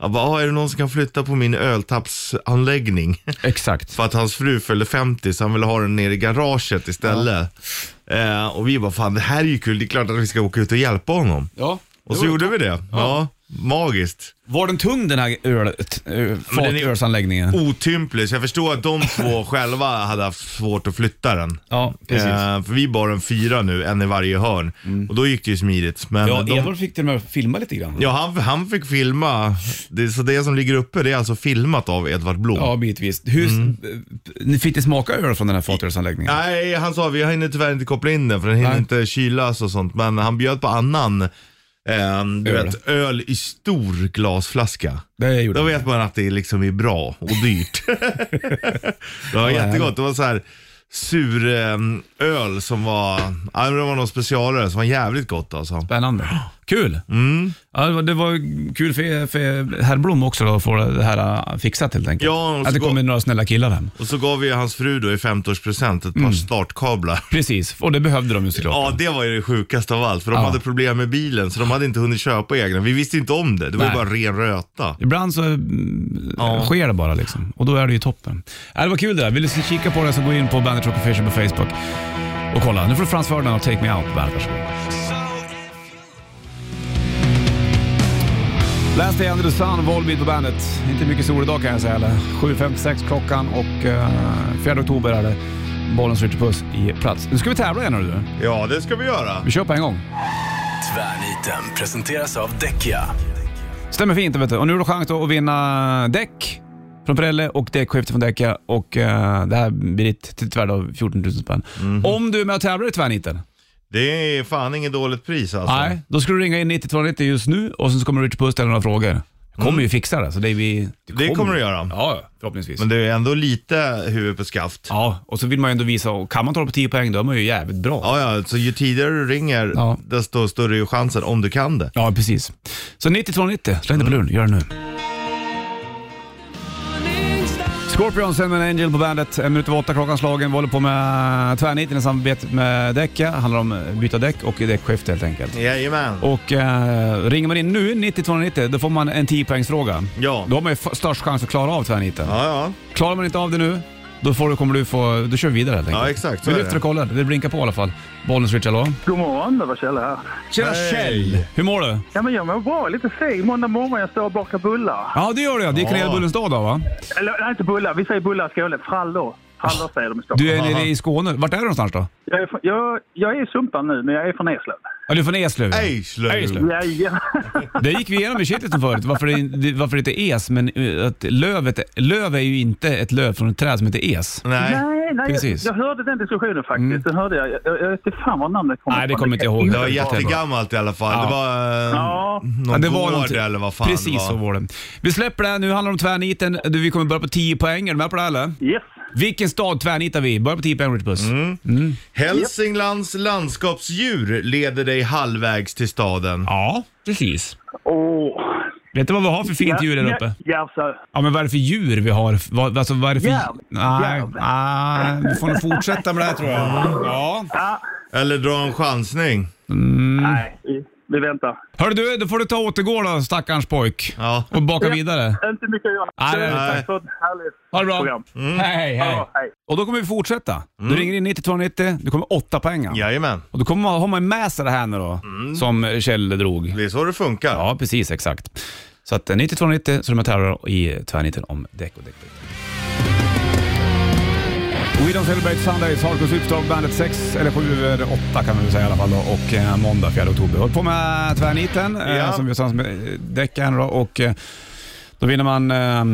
S3: Jag bara, "Ah, är det någon som kan flytta på min öltappsanläggning?
S2: Exakt.
S3: För att hans fru följde 50 så han ville ha den nere i garaget istället. Eh, och vi bara, fan det här är ju kul. Det är klart att vi ska åka ut och hjälpa honom.
S2: Ja.
S3: Och så gjorde vi det. Ja. magiskt.
S2: Var den tung den här öl, ö, fatölsanläggningen?
S3: Otymplig, så jag förstår att de två själva hade haft svårt att flytta den.
S2: Ja, precis. Mm.
S3: Eh, för vi bar en fyra nu, en i varje hörn. Och då gick det ju smidigt. Men
S2: Ja,
S3: de,
S2: Edvard fick till och med filma lite grann.
S3: ja han, han fick filma. Det, så det som ligger uppe, det är alltså filmat av Edvard Blom.
S2: Ja, bitvis. Hur, eh, Ni fick inte smaka öl från den här fatölsanläggningen?
S3: Nej, han sa vi hinner tyvärr inte koppla in den för den hinner
S2: Nej.
S3: inte kylas och sånt. Men han bjöd på annan, eh, du
S2: Öl.
S3: vet, öl i stor glasflaska.
S2: Det gjorde
S3: Då
S2: vi.
S3: vet man att det liksom är bra och dyrt. det var jättegott. Det var så här sur eh, öl som var, ja, men det var någon specialöl som var jävligt gott alltså.
S2: Spännande. Kul! Ja, det, var, det var kul för, för herr Blom också då, att få det här äh, fixat helt enkelt.
S3: Ja, och så
S2: att det
S3: gå-
S2: kommer några snälla killar hem.
S3: Och så gav vi hans fru då i 50-årspresent ett par startkablar.
S2: Precis, och det behövde de ju såklart.
S3: Mm. Ja, det var ju det sjukaste av allt. För de
S2: Ja.
S3: hade problem med bilen, så de hade inte hunnit köpa egna. Vi visste inte om det. Det var ju
S2: Nej.
S3: bara ren röta.
S2: Ibland så mm, sker det bara liksom. Och då är det ju toppen. Äh, det var kul det där. Vill du kika på det så gå in på Bandit Rock Official på Facebook och kolla. Nu får du Frans Ferdinand och Take Me Out på Bandit. Varsågod. Last Day Under the Sun, Volbeat på bandet. Inte mycket sol idag kan jag säga eller. 7.56 klockan och eh, 4 oktober är det. Bollen slår puss i plats. Nu ska vi tävla igen nu.
S3: Ja, det ska vi göra.
S2: Vi kör på en gång.
S1: Tvärniten presenteras av Däckia.
S2: Stämmer fint, vet du. Och nu har du chans då att vinna däck från Prelle och däckskifte från Däcka. Och eh, det här blir ditt till ett värde av 14 000 spänn.
S3: Mhm.
S2: Om du är med och tävlar i tvärniten,
S3: Det är fan inget dåligt pris alltså.
S2: nej, då ska du ringa in 9290 just nu och sen så kommer Richard Puss ställa några frågor. Jag kommer ju fixa det, så det, är vi,
S3: Mm. Det kommer du göra.
S2: Ja, förhoppningsvis.
S3: Men det är ändå lite huvud på skaft.
S2: Ja, och så vill man ju ändå visa, och kan man ta det på 10 poäng då är man ju jävligt bra.
S3: Ja, ja, så ju tidigare du ringer,
S2: Ja.
S3: desto större är ju chansen om du kan det.
S2: Ja, precis. Så 9290, släng dig
S3: Mm.
S2: på luren. Gör det nu. Scorpions and an Angel på bandet. En minut över åtta klockan slagen. Vi håller på med tvärniten i samarbete med Däcka. handlar om att byta däck och däckskifte helt enkelt.
S3: Jajamän.
S2: Och eh, ringer man in nu, 9290, då får man en 10-poängsfråga.
S3: Ja.
S2: Då har man ju f- störst chans att klara av tvärniten.
S3: Ja, ja.
S2: Klarar man inte av det nu, då, får du, kommer du få, då kör vi vidare helt enkelt.
S3: Ja, exakt, så
S2: Vi
S3: är
S2: lyfter
S3: det.
S2: och kollar. Det blinkar på i alla fall. Bollnäs Richard, hallå?
S5: God morgon, det var Kjell här.
S2: Tjena Kjell! Hur mår du?
S5: Ja, men jag mår bra. Lite seg måndag morgon. Jag står och bakar bullar.
S2: Ja, det gör du ja. Det är kanelbullens dag då va?
S5: Eller nej, inte bullar. Vi säger bullar i Skåne. Frallor. Frallor säger de i Stockholm.
S2: Du är nere i Skåne. Vart är du någonstans då?
S5: Jag, är från, jag, jag är i Sumpan nu, men jag är från Eslöv.
S2: Ja, du är från Eslöv.
S3: Ejslöv.
S5: Jajamän.
S2: Det gick vi igenom i kittelsen förut, varför det, det- varför det inte är es, men eh, att lövet, löv är ju inte ett löv från ett träd som heter es.
S3: Nej,
S5: Nej, nej.
S2: Precis. Mm.
S5: Jag, jag hörde den diskussionen faktiskt. Det hörde jag. Jag, jag, jag vet inte fan var namnet kommer
S2: Nej, det
S5: ifrån.
S2: kommer inte jag ihåg.
S3: det var
S2: Ja,
S3: jättegammalt i alla fall. Det var eh,
S5: Ja.
S3: någon
S2: det var
S3: gård
S2: någonting-
S3: eller vad fan
S2: Precis
S3: det
S2: så
S3: var.
S2: var det. Vi släpper det här nu, handlar om tvärniten. Du, vi kommer börja på 10 poäng. Är du med på det här, eller?
S5: Yes.
S2: Vilken stad tvärnitar vi? Börja på 10 poäng, Richard Puss.
S3: Mm. Hälsinglands landskapsdjur leder dig halvvägs till staden.
S2: Ja, precis.
S5: Åh.
S2: Vet du vad vi har för fint djur där uppe?
S5: Järvsö.
S2: Ja, men vad är det för djur vi har? Vad, alltså, vad är det för...
S5: Järv.
S2: Nej,
S5: Järv.
S2: nej, vi får nog fortsätta med det här tror jag. Ja.
S5: Ja.
S3: Eller dra en chansning.
S5: Nej. vi väntar.
S2: Hörru du, då får du ta återgå då stackarns pojk.
S3: Ja.
S2: Och baka vidare.
S5: Inte mycket att göra.
S2: Nej, nej,
S3: nej.
S5: Tack för ett härligt
S2: Ha det bra. Mm.
S5: program.
S2: Hej, hej.
S5: Ja, hej.
S2: Och då kommer vi fortsätta. Du ringer in 90-290, du kommer åtta pengar.
S3: Jajamän.
S2: Och då kommer man, har man med sig det här nu då, som Kjell drog.
S3: Det är så det funkar.
S2: Ja, precis, exakt. Så att eh, 90-290, så de här tävlar i tvärniten om däck och däckbyte. We don't celebrate Sundays, Hardcore Superstar, bandet 6 eller 7 eller 8 kan man väl säga i alla fall då, och eh, måndag 4 oktober. Håll på med tvärniten eh,
S3: Ja.
S2: som vi har tillsammans med eh, däcken då, och eh, då vinner man eh,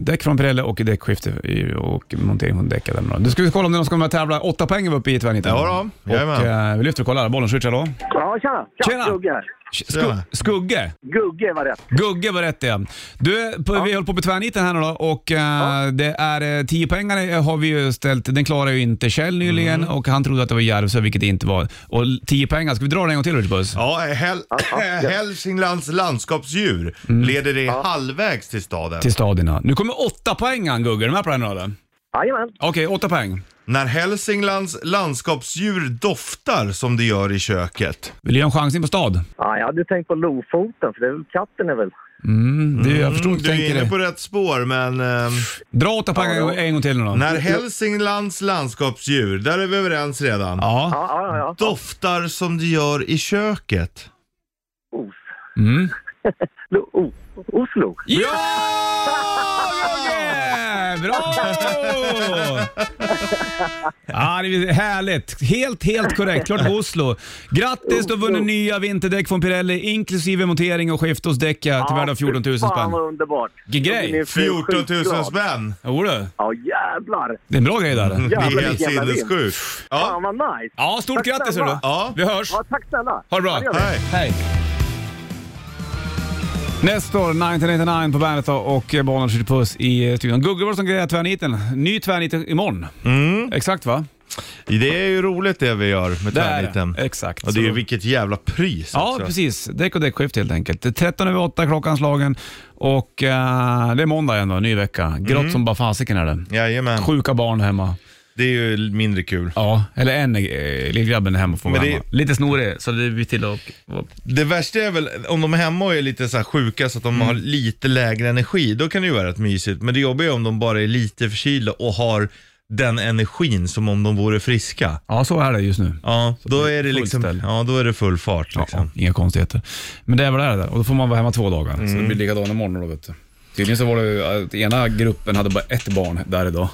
S2: däck från Pirelli och däckskifte i- och montering från däck. eller något. Nu ska vi kolla om det är någon som kommer att tävla. Åtta poäng var uppe i tvärniten.
S3: Ja då, jajamän.
S2: Och eh, vi lyfter och kollar. Bollen switchar då.
S5: Ja, tjena!
S2: Tjena.
S5: Gugge här.
S2: Sku- skugge.
S5: Gugge var rätt.
S2: Gugge var rätt det. Du, på, vi höll på med tvärniten här nu då och eh, det är eh, 10 pengar har vi ju ställt. Den klarar ju inte Kjell nyligen och han trodde att det var Järvsö, vilket det inte var. Och 10 pengar, ska vi dra den en gång till Richard Puss?
S3: Ja, Häl- Hälsinglands landskapsdjur leder dig halvvägs till staden.
S2: Mm. Till stadierna. Nu kommer 8 poäng han Gugge, är du med på den nu eller?
S5: Jajamän.
S2: Okej, 8 poäng.
S3: När Hälsinglands landskapsdjur doftar som det gör i köket.
S2: Vill du göra en chansning på stad?
S5: Ja, jag hade tänkt på Lofoten, för det är väl, katten är väl...
S2: Mm, du, jag förstod
S3: Mm,
S2: inte
S3: du är
S2: tänker
S3: inne
S2: det.
S3: på rätt spår, men ehm,
S2: Dra 8 poäng en- en gång till nu då.
S3: när Hälsinglands landskapsdjur, där är vi överens redan,
S2: Ja.
S5: Ja, ja, ja.
S3: doftar som det gör i köket.
S5: Os.
S2: Mm.
S5: Lo- o- Oslo.
S2: Ja! Gugge! Bra! Ja, det är härligt. Helt, helt korrekt. Klart Oslo. Grattis, du har vunnit nya vinterdäck från Pirelli inklusive montering och skift hos Däcka till värde av 14 000
S5: Fan
S2: spänn.
S5: vad underbart.
S2: Vilken
S5: Då blir
S2: grej!
S5: ni
S3: 14 000
S5: skitglad.
S3: spänn!
S2: Jo, du.
S5: Ja, jävlar.
S2: Det är en bra grej där.
S3: Mm. Det är
S5: Jävlar,
S3: helt
S5: vilken jävla vinst.
S3: sinnessjukt.
S5: Fan
S3: Ja,
S5: vad nice.
S2: Ja, stort grattis hörru.
S3: Ja.
S2: Vi hörs.
S5: Ja, tack snälla.
S2: Ha det bra.
S5: gör vi.
S3: hej.
S2: Hej. Nästa år, 1999 på bandet då, och Barnen skjuter puss i studion. Gugge var det som grejade tvärniten. Ny tvärniten imorgon.
S5: Mm.
S2: Exakt va?
S3: Det är ju roligt det vi gör med
S2: Det är det.
S3: tvärniten.
S2: Exakt.
S3: Och det är ju
S2: Så-
S3: vilket jävla pris
S2: Ja,
S3: också.
S2: precis. Däck och däckskift helt enkelt. Det är 13 över 8 klockan slagen och eh, det är måndag igen då, ny vecka. Grått
S3: Mm.
S2: som bara fasiken är det.
S3: Jajamän.
S2: Sjuka barn hemma.
S3: Det är ju mindre kul.
S2: Ja, eller en eh, lillgrabben är hemma får
S3: Men
S2: vara
S3: det-
S2: hemma. Lite snorig, så det blir till att...
S3: Det värsta är väl om de är hemma och är lite så här sjuka så att
S2: Mm.
S3: de har lite lägre energi, då kan det ju vara rätt mysigt. Men det jobbiga är om de bara är lite förkylda och har den energin som om de vore friska.
S2: Ja, så är det just nu.
S3: Ja, då
S2: det är
S3: är det
S2: fullt
S3: liksom,
S2: ställ.
S3: ja, då är det full fart
S2: Ja,
S3: liksom. Mm.
S2: inga konstigheter. Men det är väl det där och då får man vara hemma två dagar. Så det blir likadant imorgon då vet du. Tydligen så var det ju att ena gruppen hade bara ett barn där idag.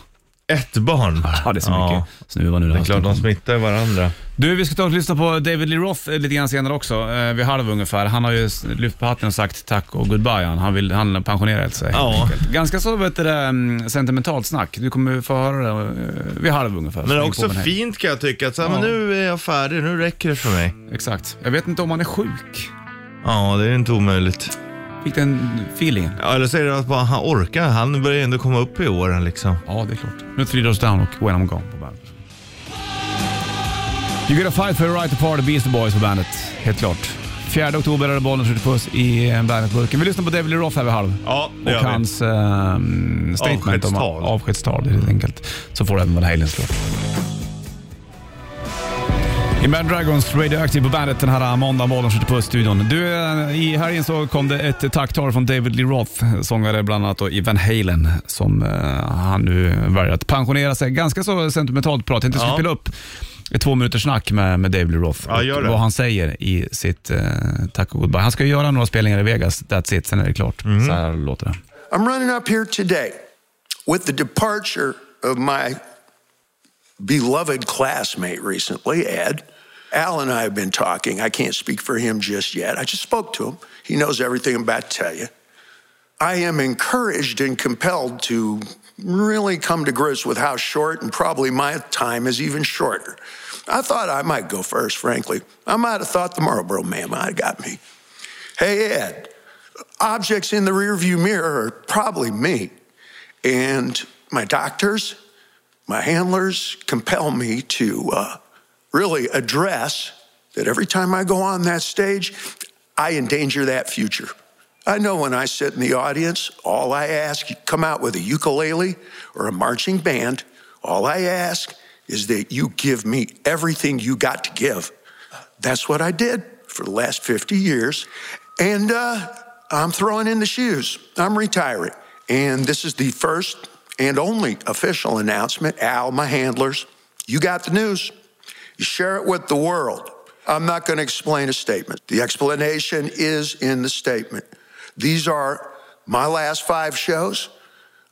S3: Ett barn.
S2: Ja, det är så mycket snuva nu.
S3: Det är klart, de smittar ju varandra.
S2: Du, vi ska ta och lyssna på David Lee Roth eh, lite grann senare också, eh, vid halv ungefär. Han har ju s- lyft på hatten och sagt tack och goodbye. Han, han vill han pensionerat sig. helt
S3: Ja.
S2: enkelt. Ganska så vet du, det, mm, sentimentalt snack. Du kommer få höra det eh, vid halv ungefär.
S3: Men det är
S2: Häng
S3: också
S2: på med hej.
S3: fint kan jag tycka, att så här, men nu är jag färdig, nu räcker det för mig.
S2: Exakt. Jag vet inte om han är sjuk.
S3: Ja, det är inte omöjligt.
S2: Fick den feelingen?
S3: Ja, eller så är det att bara, han orkar, han börjar ändå komma upp i åren liksom.
S2: Ja, det är klart. Nu är Three Doors Down och When I'm Gone på bandet. You gotta fight for your right to party, Beastie Boys på bandet. Helt klart. 4 oktober är det bollen skjuter puss i eh, bandetburken. Vi lyssnar på David Lee Roth här vid halv.
S3: Ja, det
S2: och
S3: gör vi.
S2: hans ehm, statement om
S3: Avskedstal.
S2: avskedstal helt enkelt. Så får du även Van Halens låt. Imagine Dragons Radioactive på bandet den här måndagen, morgonen skjuter på studion. Du, eh, i helgen så kom det ett tacktal från David Lee Roth, sångare bland annat då i Van Halen, som eh, han nu väljer att pensionera sig. Ganska så sentimentalt prat. Jag tänkte jag skulle
S3: Ja.
S2: spela upp ett två minuters snack med, med David Lee Roth
S3: Ja, gör
S2: och
S3: det.
S2: vad han säger i sitt eh, tack och goodbye. Han ska ju göra några spelningar i Vegas, that's it, sen är det klart.
S3: Mm.
S2: Så här låter det.
S6: I'm running up here today with the departure of my beloved classmate recently, Ed. Al and I have been talking. I can't speak for him just yet. I just spoke to him. He knows everything I'm about to tell you. I am encouraged and compelled to really come to grips with how short and probably my time is even shorter. I thought I might go first, frankly. I might have thought the Marlboro man might have got me. Hey, Ed, objects in the rearview mirror are probably me. And my doctors, my handlers compel me to uh, really address that every time I go on that stage, I endanger that future. I know when I sit in the audience, all I ask, you come out with a ukulele or a marching band, all I ask is that you give me everything you got to give. That's what I did for the last 50 years. And uh, I'm throwing in the shoes. I'm retiring. And this is the first and only official announcement. Al, my handlers, you got the news. You share it with the world. I'm not going to explain a statement. The explanation is in the statement. These are my last five shows.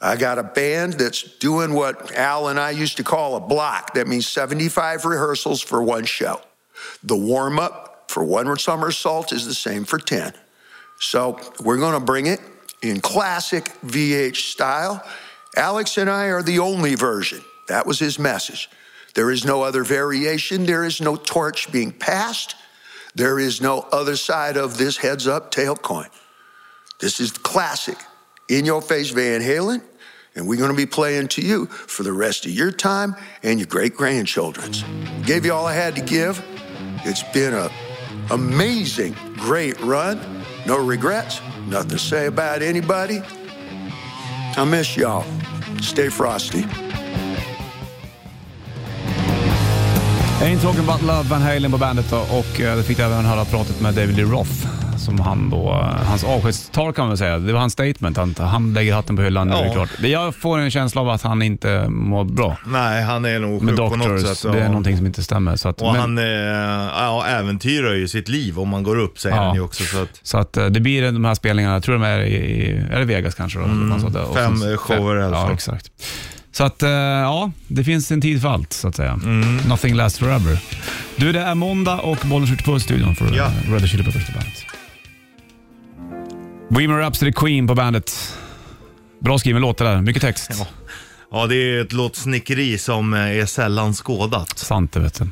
S6: I got a band that's doing what Al and I used to call a block. That means 75 rehearsals for one show. The warm up for one somersault is the same for 10. So we're going to bring it in classic VH style. Alex and I are the only version. That was his message. There is no other variation. There is no torch being passed. There is no other side of this heads up, tail coin. This is classic in your face Van Halen, and we're going to be playing to you for the rest of your time and your great grandchildren's. Gave you all I had to give. It's been a amazing, great run. No regrets, nothing to say about anybody. I miss y'all. Stay frosty.
S2: Ain't talking about love, Van Halen på bandet då, och eh, då fick jag även höra pratet med David Lee Roth. Som han då, eh, hans avskedstal kan man väl säga. Det var hans statement. Han, han lägger hatten på hyllan nu,
S3: Ja.
S2: det är klart. Det- Jag får en känsla av att han inte mår bra.
S3: Nej, han är nog
S2: Med
S3: sjuk på något
S2: Doctors,
S3: sätt. ja.
S2: det är någonting som inte stämmer. Så att,
S3: Och
S2: men-
S3: han eh, ja, äventyrar ju sitt liv om man går upp, säger
S2: Ja.
S3: han ju också. Så att
S2: Så att eh, det blir de här spelningarna, jag tror de är i är det Vegas kanske. Då, Som han sa där. Och
S3: fem,
S2: sen-
S3: eh, shower i alla
S2: Ja,
S3: fall.
S2: exakt. Så att eh, ja, det finns en tid för allt så att säga.
S3: Mm.
S2: Nothing lasts forever. Du, det är måndag och bollen skjuter på i studion för
S3: Ja.
S2: ja. Red Hot Chili Peppers på bandet. Bohemian Rhapsody Queen på bandet. Bra skriven låt det där, mycket text.
S3: Ja, det är ett låtsnickeri som eh, är sällan skådat.
S2: Sant det vet du.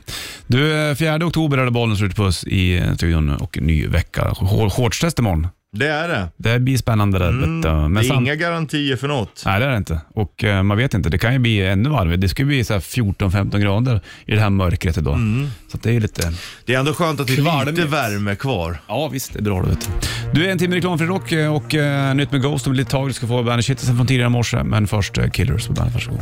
S2: Du, eh, 4 oktober är det bollen skjuter på oss i eh, studion och ny vecka. Hår- Shortstest imorgon.
S3: Det är det.
S2: Det blir spännande det. vet du. Men
S3: Mm. Det är
S2: samt-
S3: inga garantier för något.
S2: Nej, det är det inte. Och eh, man vet inte, det kan ju bli ännu varmare. Det skulle bli så här 14-15 grader i det här mörkret idag.
S3: Mm.
S2: Så att det är lite...
S3: Det är ändå skönt att det är lite
S2: Kvalmigt.
S3: värme kvar.
S2: Ja, visst. Det är bra det vet du. Du, är en timme reklamfri rock eh, och eh, nytt med Ghost om ett litet tag. Du ska få bandet Kittelsen från tidigare i morse, men först eh, Killers på bandet. Varsågod.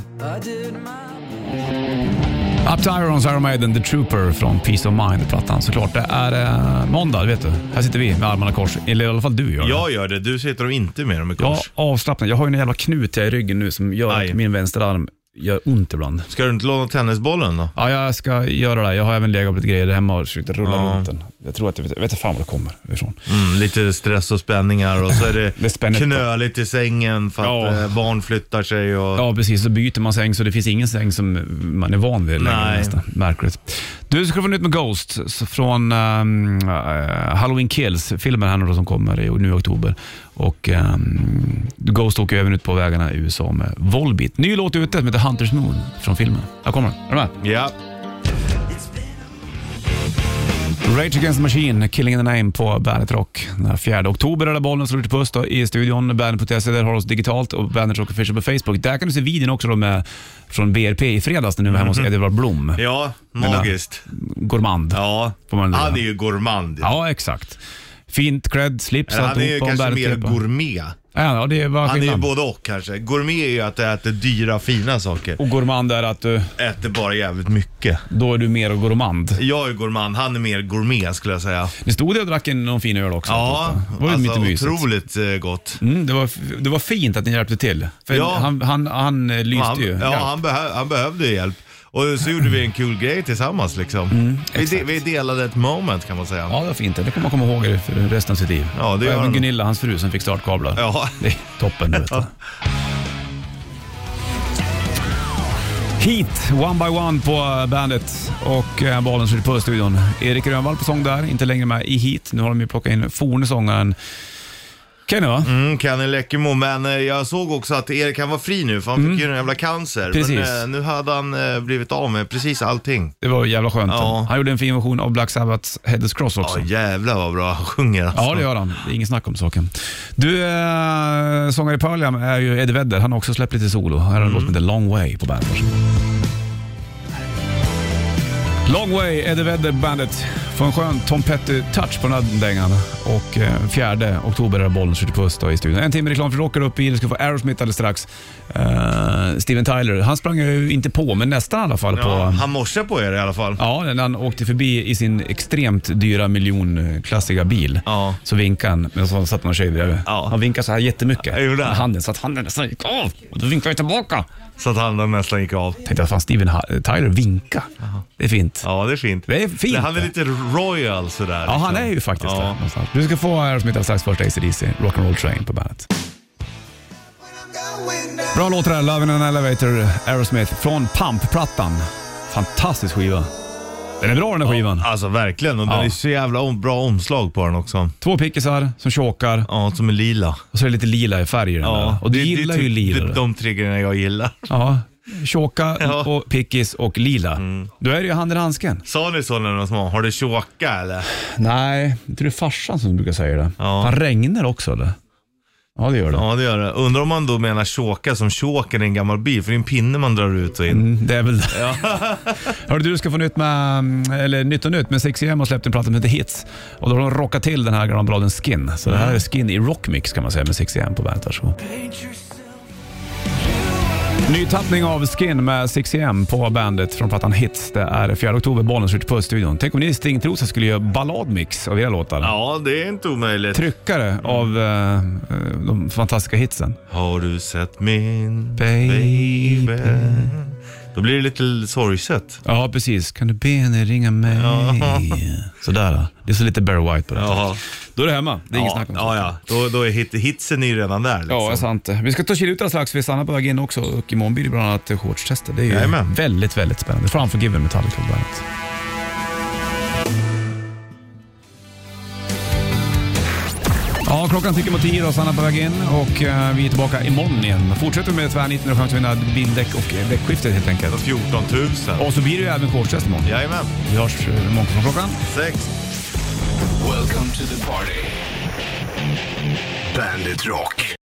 S2: Up to Irons, Iron Maiden, The Trooper från Peace of Mind-plattan. Såklart, det är eh, måndag, det vet du. Här sitter vi med armarna i kors. Eller i alla fall du gör det.
S3: Jag gör det, du sitter och inte med dem i
S2: Ja,
S3: kors.
S2: avslappnad. Jag har ju en jävla knut här i ryggen nu som gör
S3: Aj.
S2: att min vänsterarm gör ont ibland.
S3: Ska du inte låna tennisbollen då?
S2: Ja, jag ska göra det. Jag har även legat på lite grejer där hemma och försökt rulla
S3: Ja.
S2: runt den. Jag tror att jag vet, jag vet inte fan var det kommer ifrån.
S3: Mm, lite stress och spänningar och så är det,
S2: Det är spännigt.
S3: knöligt i sängen för att
S2: Ja.
S3: eh, barn flyttar sig och...
S2: Ja, precis. Så byter man säng så det finns ingen säng som man är van vid längre
S3: Nej.
S2: nästan. Märkligt. Du ska få nytt med Ghost s- från ehm, eh, Halloween Kills-filmen här nu då som kommer i, nu i oktober. Och ehm, Ghost åker även ut på vägarna i USA med Volbeat. Ny låt ute som heter Hunters Moon från filmen. Här kommer den. Är du med?
S3: Ja.
S2: Rage Against the Machine, Killing in the Name på Bandet Rock. Den 4 oktober är det bollen slår ut på oss då, i studion. Bandet.se, där har du oss digitalt och Bandet Rock Official på Facebook. Där kan du se videon också då med, från BRP i fredags när du var hemma hos Edvard Blom.
S3: Mhm. ja, magiskt.
S2: Gourmand.
S3: Ja,
S2: eh, Får man
S3: han
S2: lura.
S3: är ju gourmand.
S2: Ja, exakt. Fint klädd, slips
S3: Eller han är ju
S2: alltihopa,
S3: kanske mer
S2: Bandet-repa.
S3: gourmet.
S2: Ja, ja, det var
S3: Han är ju
S2: skillnad.
S3: både och kanske. Gourmet är ju att du äter dyra, fina saker.
S2: Och gourmand är att du,
S3: Äter bara jävligt mycket.
S2: då är du mer gourmand.
S3: Jag är gourmand, han är mer gourmet skulle jag säga.
S2: Ni stod där och drack en, någon fin öl också.
S3: Ja,
S2: det var ju
S3: alltså
S2: lite mysigt.
S3: otroligt eh, gott.
S2: Mm, det, var, det var fint att ni hjälpte till. För
S3: Ja.
S2: han, han, han eh, lyste
S3: Han,
S2: ju.
S3: ja, han, behö- han behövde ju hjälp. Och så gjorde vi en kul grej tillsammans liksom. vi, de-
S2: Mm, exakt.
S3: vi delade ett moment kan man säga.
S2: Ja, det var fint. Det kommer man komma ihåg det för resten av sitt liv.
S3: Ja, det
S2: Och
S3: gör
S2: Även
S3: han.
S2: Gunilla, hans fru, som fick startkablar.
S3: Ja.
S2: Det är toppen, du vet. Heat, One by One på bandet och eh, bollen skjuter på studion. Erik Rönnvall på sång där, inte längre med i Heat. Nu har de ju plockat in forne sångaren Kenny va?
S3: Mm, Kenny Läckemo, men eh, jag såg också att Erik han var fri nu för han fick ju en jävla cancer.
S2: Mm. Precis.
S3: Men eh, nu hade han eh, blivit av med precis allting.
S2: Det var jävla skönt.
S3: Ja.
S2: Han gjorde en fin version av Black Sabbaths Headless Cross också.
S3: Ja jävlar vad bra han sjunger alltså.
S2: Ja, det gör han. Det är inget snack om saken. Du, äh, sångare i Pearl Jam är ju Eddie Vedder. Han har också släppt lite solo. Här har en låt som heter Long Way på bandet. Long Way, Eddie Vedder Bandet. Får en skön Tom Petty-touch på den här dängan. Och eh, 4 oktober är bollen skjuter puss då i studion. En timme reklam för rockar upp i. Du ska få Aerosmith alldeles strax. Eh, Steven Tyler, han sprang ju inte på, men nästan i alla fall
S3: Ja,
S2: på...
S3: han morsar på er i alla fall.
S2: Ja, när han åkte förbi i sin extremt dyra miljonklassiga bil
S3: Ja.
S2: så vinkade han, men så satt någon tjej bredvid.
S3: Ja.
S2: Han vinkade så här jättemycket
S3: Jag gjorde det.
S2: med handen så att handen nästan gick av. Och då vinkade jag tillbaka.
S3: Så att han nästan gick av.
S2: Tänkte att fan, Steven Ha- Tyler vinka. Det är fint.
S3: Ja, det är fint.
S2: Det är fint.
S3: Han är lite royal sådär.
S2: Ja,
S3: liksom.
S2: han är ju faktiskt det.
S3: Ja.
S2: någonstans. Du ska få Aerosmith alldeles strax. Först ACDC, Rock'n'Roll Train på bandet. Bra låt det här, Love in an Elevator, Aerosmith, från Pump-plattan. Fantastisk skiva. Den är bra den här skivan.
S3: Alltså verkligen. Och
S2: Ja.
S3: den är så jävla om, bra omslag på den också.
S2: Två pickisar som tjåkar
S3: Ja, som är lila.
S2: och så är det lite lila i färg i den där. Och du
S3: det- det är
S2: gillar
S3: typ
S2: ju lila.
S3: De, de tre grejerna jag gillar.
S2: Ja, tjåka
S3: Ja. Mm.
S2: och pickis och lila. Då är det ju handen i handsken.
S3: Sa ni så när ni var små? Har du tjåka eller?
S2: Nej, inte det är farsan som brukar säga det.
S3: Ja.
S2: Han regnar också eller? Ja, det gör det.
S3: Ja, det gör det. Undrar om man då menar tjåka som tjåken i en gammal bil, för det är en pinne man drar ut och in.
S2: Mm, det är väl det. Hörru du, du ska få nytt med, mm, eller nytt och nytt, men 6AM har släppt en platta som heter Hits. Och då har de rockat till den här gamla bladen Skin. Så det här är Skin i rockmix kan man säga med 6AM på bandet. Varsågod. Ny tappning av Skin med 6AM på bandet från plattan Hits. Det är 4 oktober, Bollnäs skjuter på studion. Tänk om ni i Stingtrosa skulle göra balladmix av era låtar.
S3: Ja, det är inte omöjligt.
S2: Tryckare av eh, eh, de fantastiska hitsen.
S3: Har du sett min
S2: Baby.
S3: baby? Då blir det lite sorgset.
S2: Ja, precis. Kan du be henne ringa mig? Sådär. då. Det är så lite Barry White på det.
S3: Jaha.
S2: Då är det hemma. Det är inget
S3: ja,
S2: snack om
S3: ja,
S2: saken.
S3: ja. Då, då är hit, hitsen är ju redan där. Liksom.
S2: Ja, det är sant. Vi ska ta och kila ut alldeles strax. Vi stannar på väg in också och imorgon blir det bland annat shortstester. Det är ju
S3: Jajamän.
S2: väldigt, väldigt spännande. Framför Given Metallica bland annat. Ja, klockan tickar mot tio och Sanna på väg in och eh, vi är tillbaka imorgon igen. Fortsätter med tvärniten och chans att vinna bildäck och eh, däckskiftet helt enkelt.
S3: 14 000.
S2: Och så blir det ju även shortstest imorgon.
S3: Jajamän.
S2: Vi hörs eh, imorgon från klockan.
S3: Sex.
S1: Welcome to the party. Bandit Rock.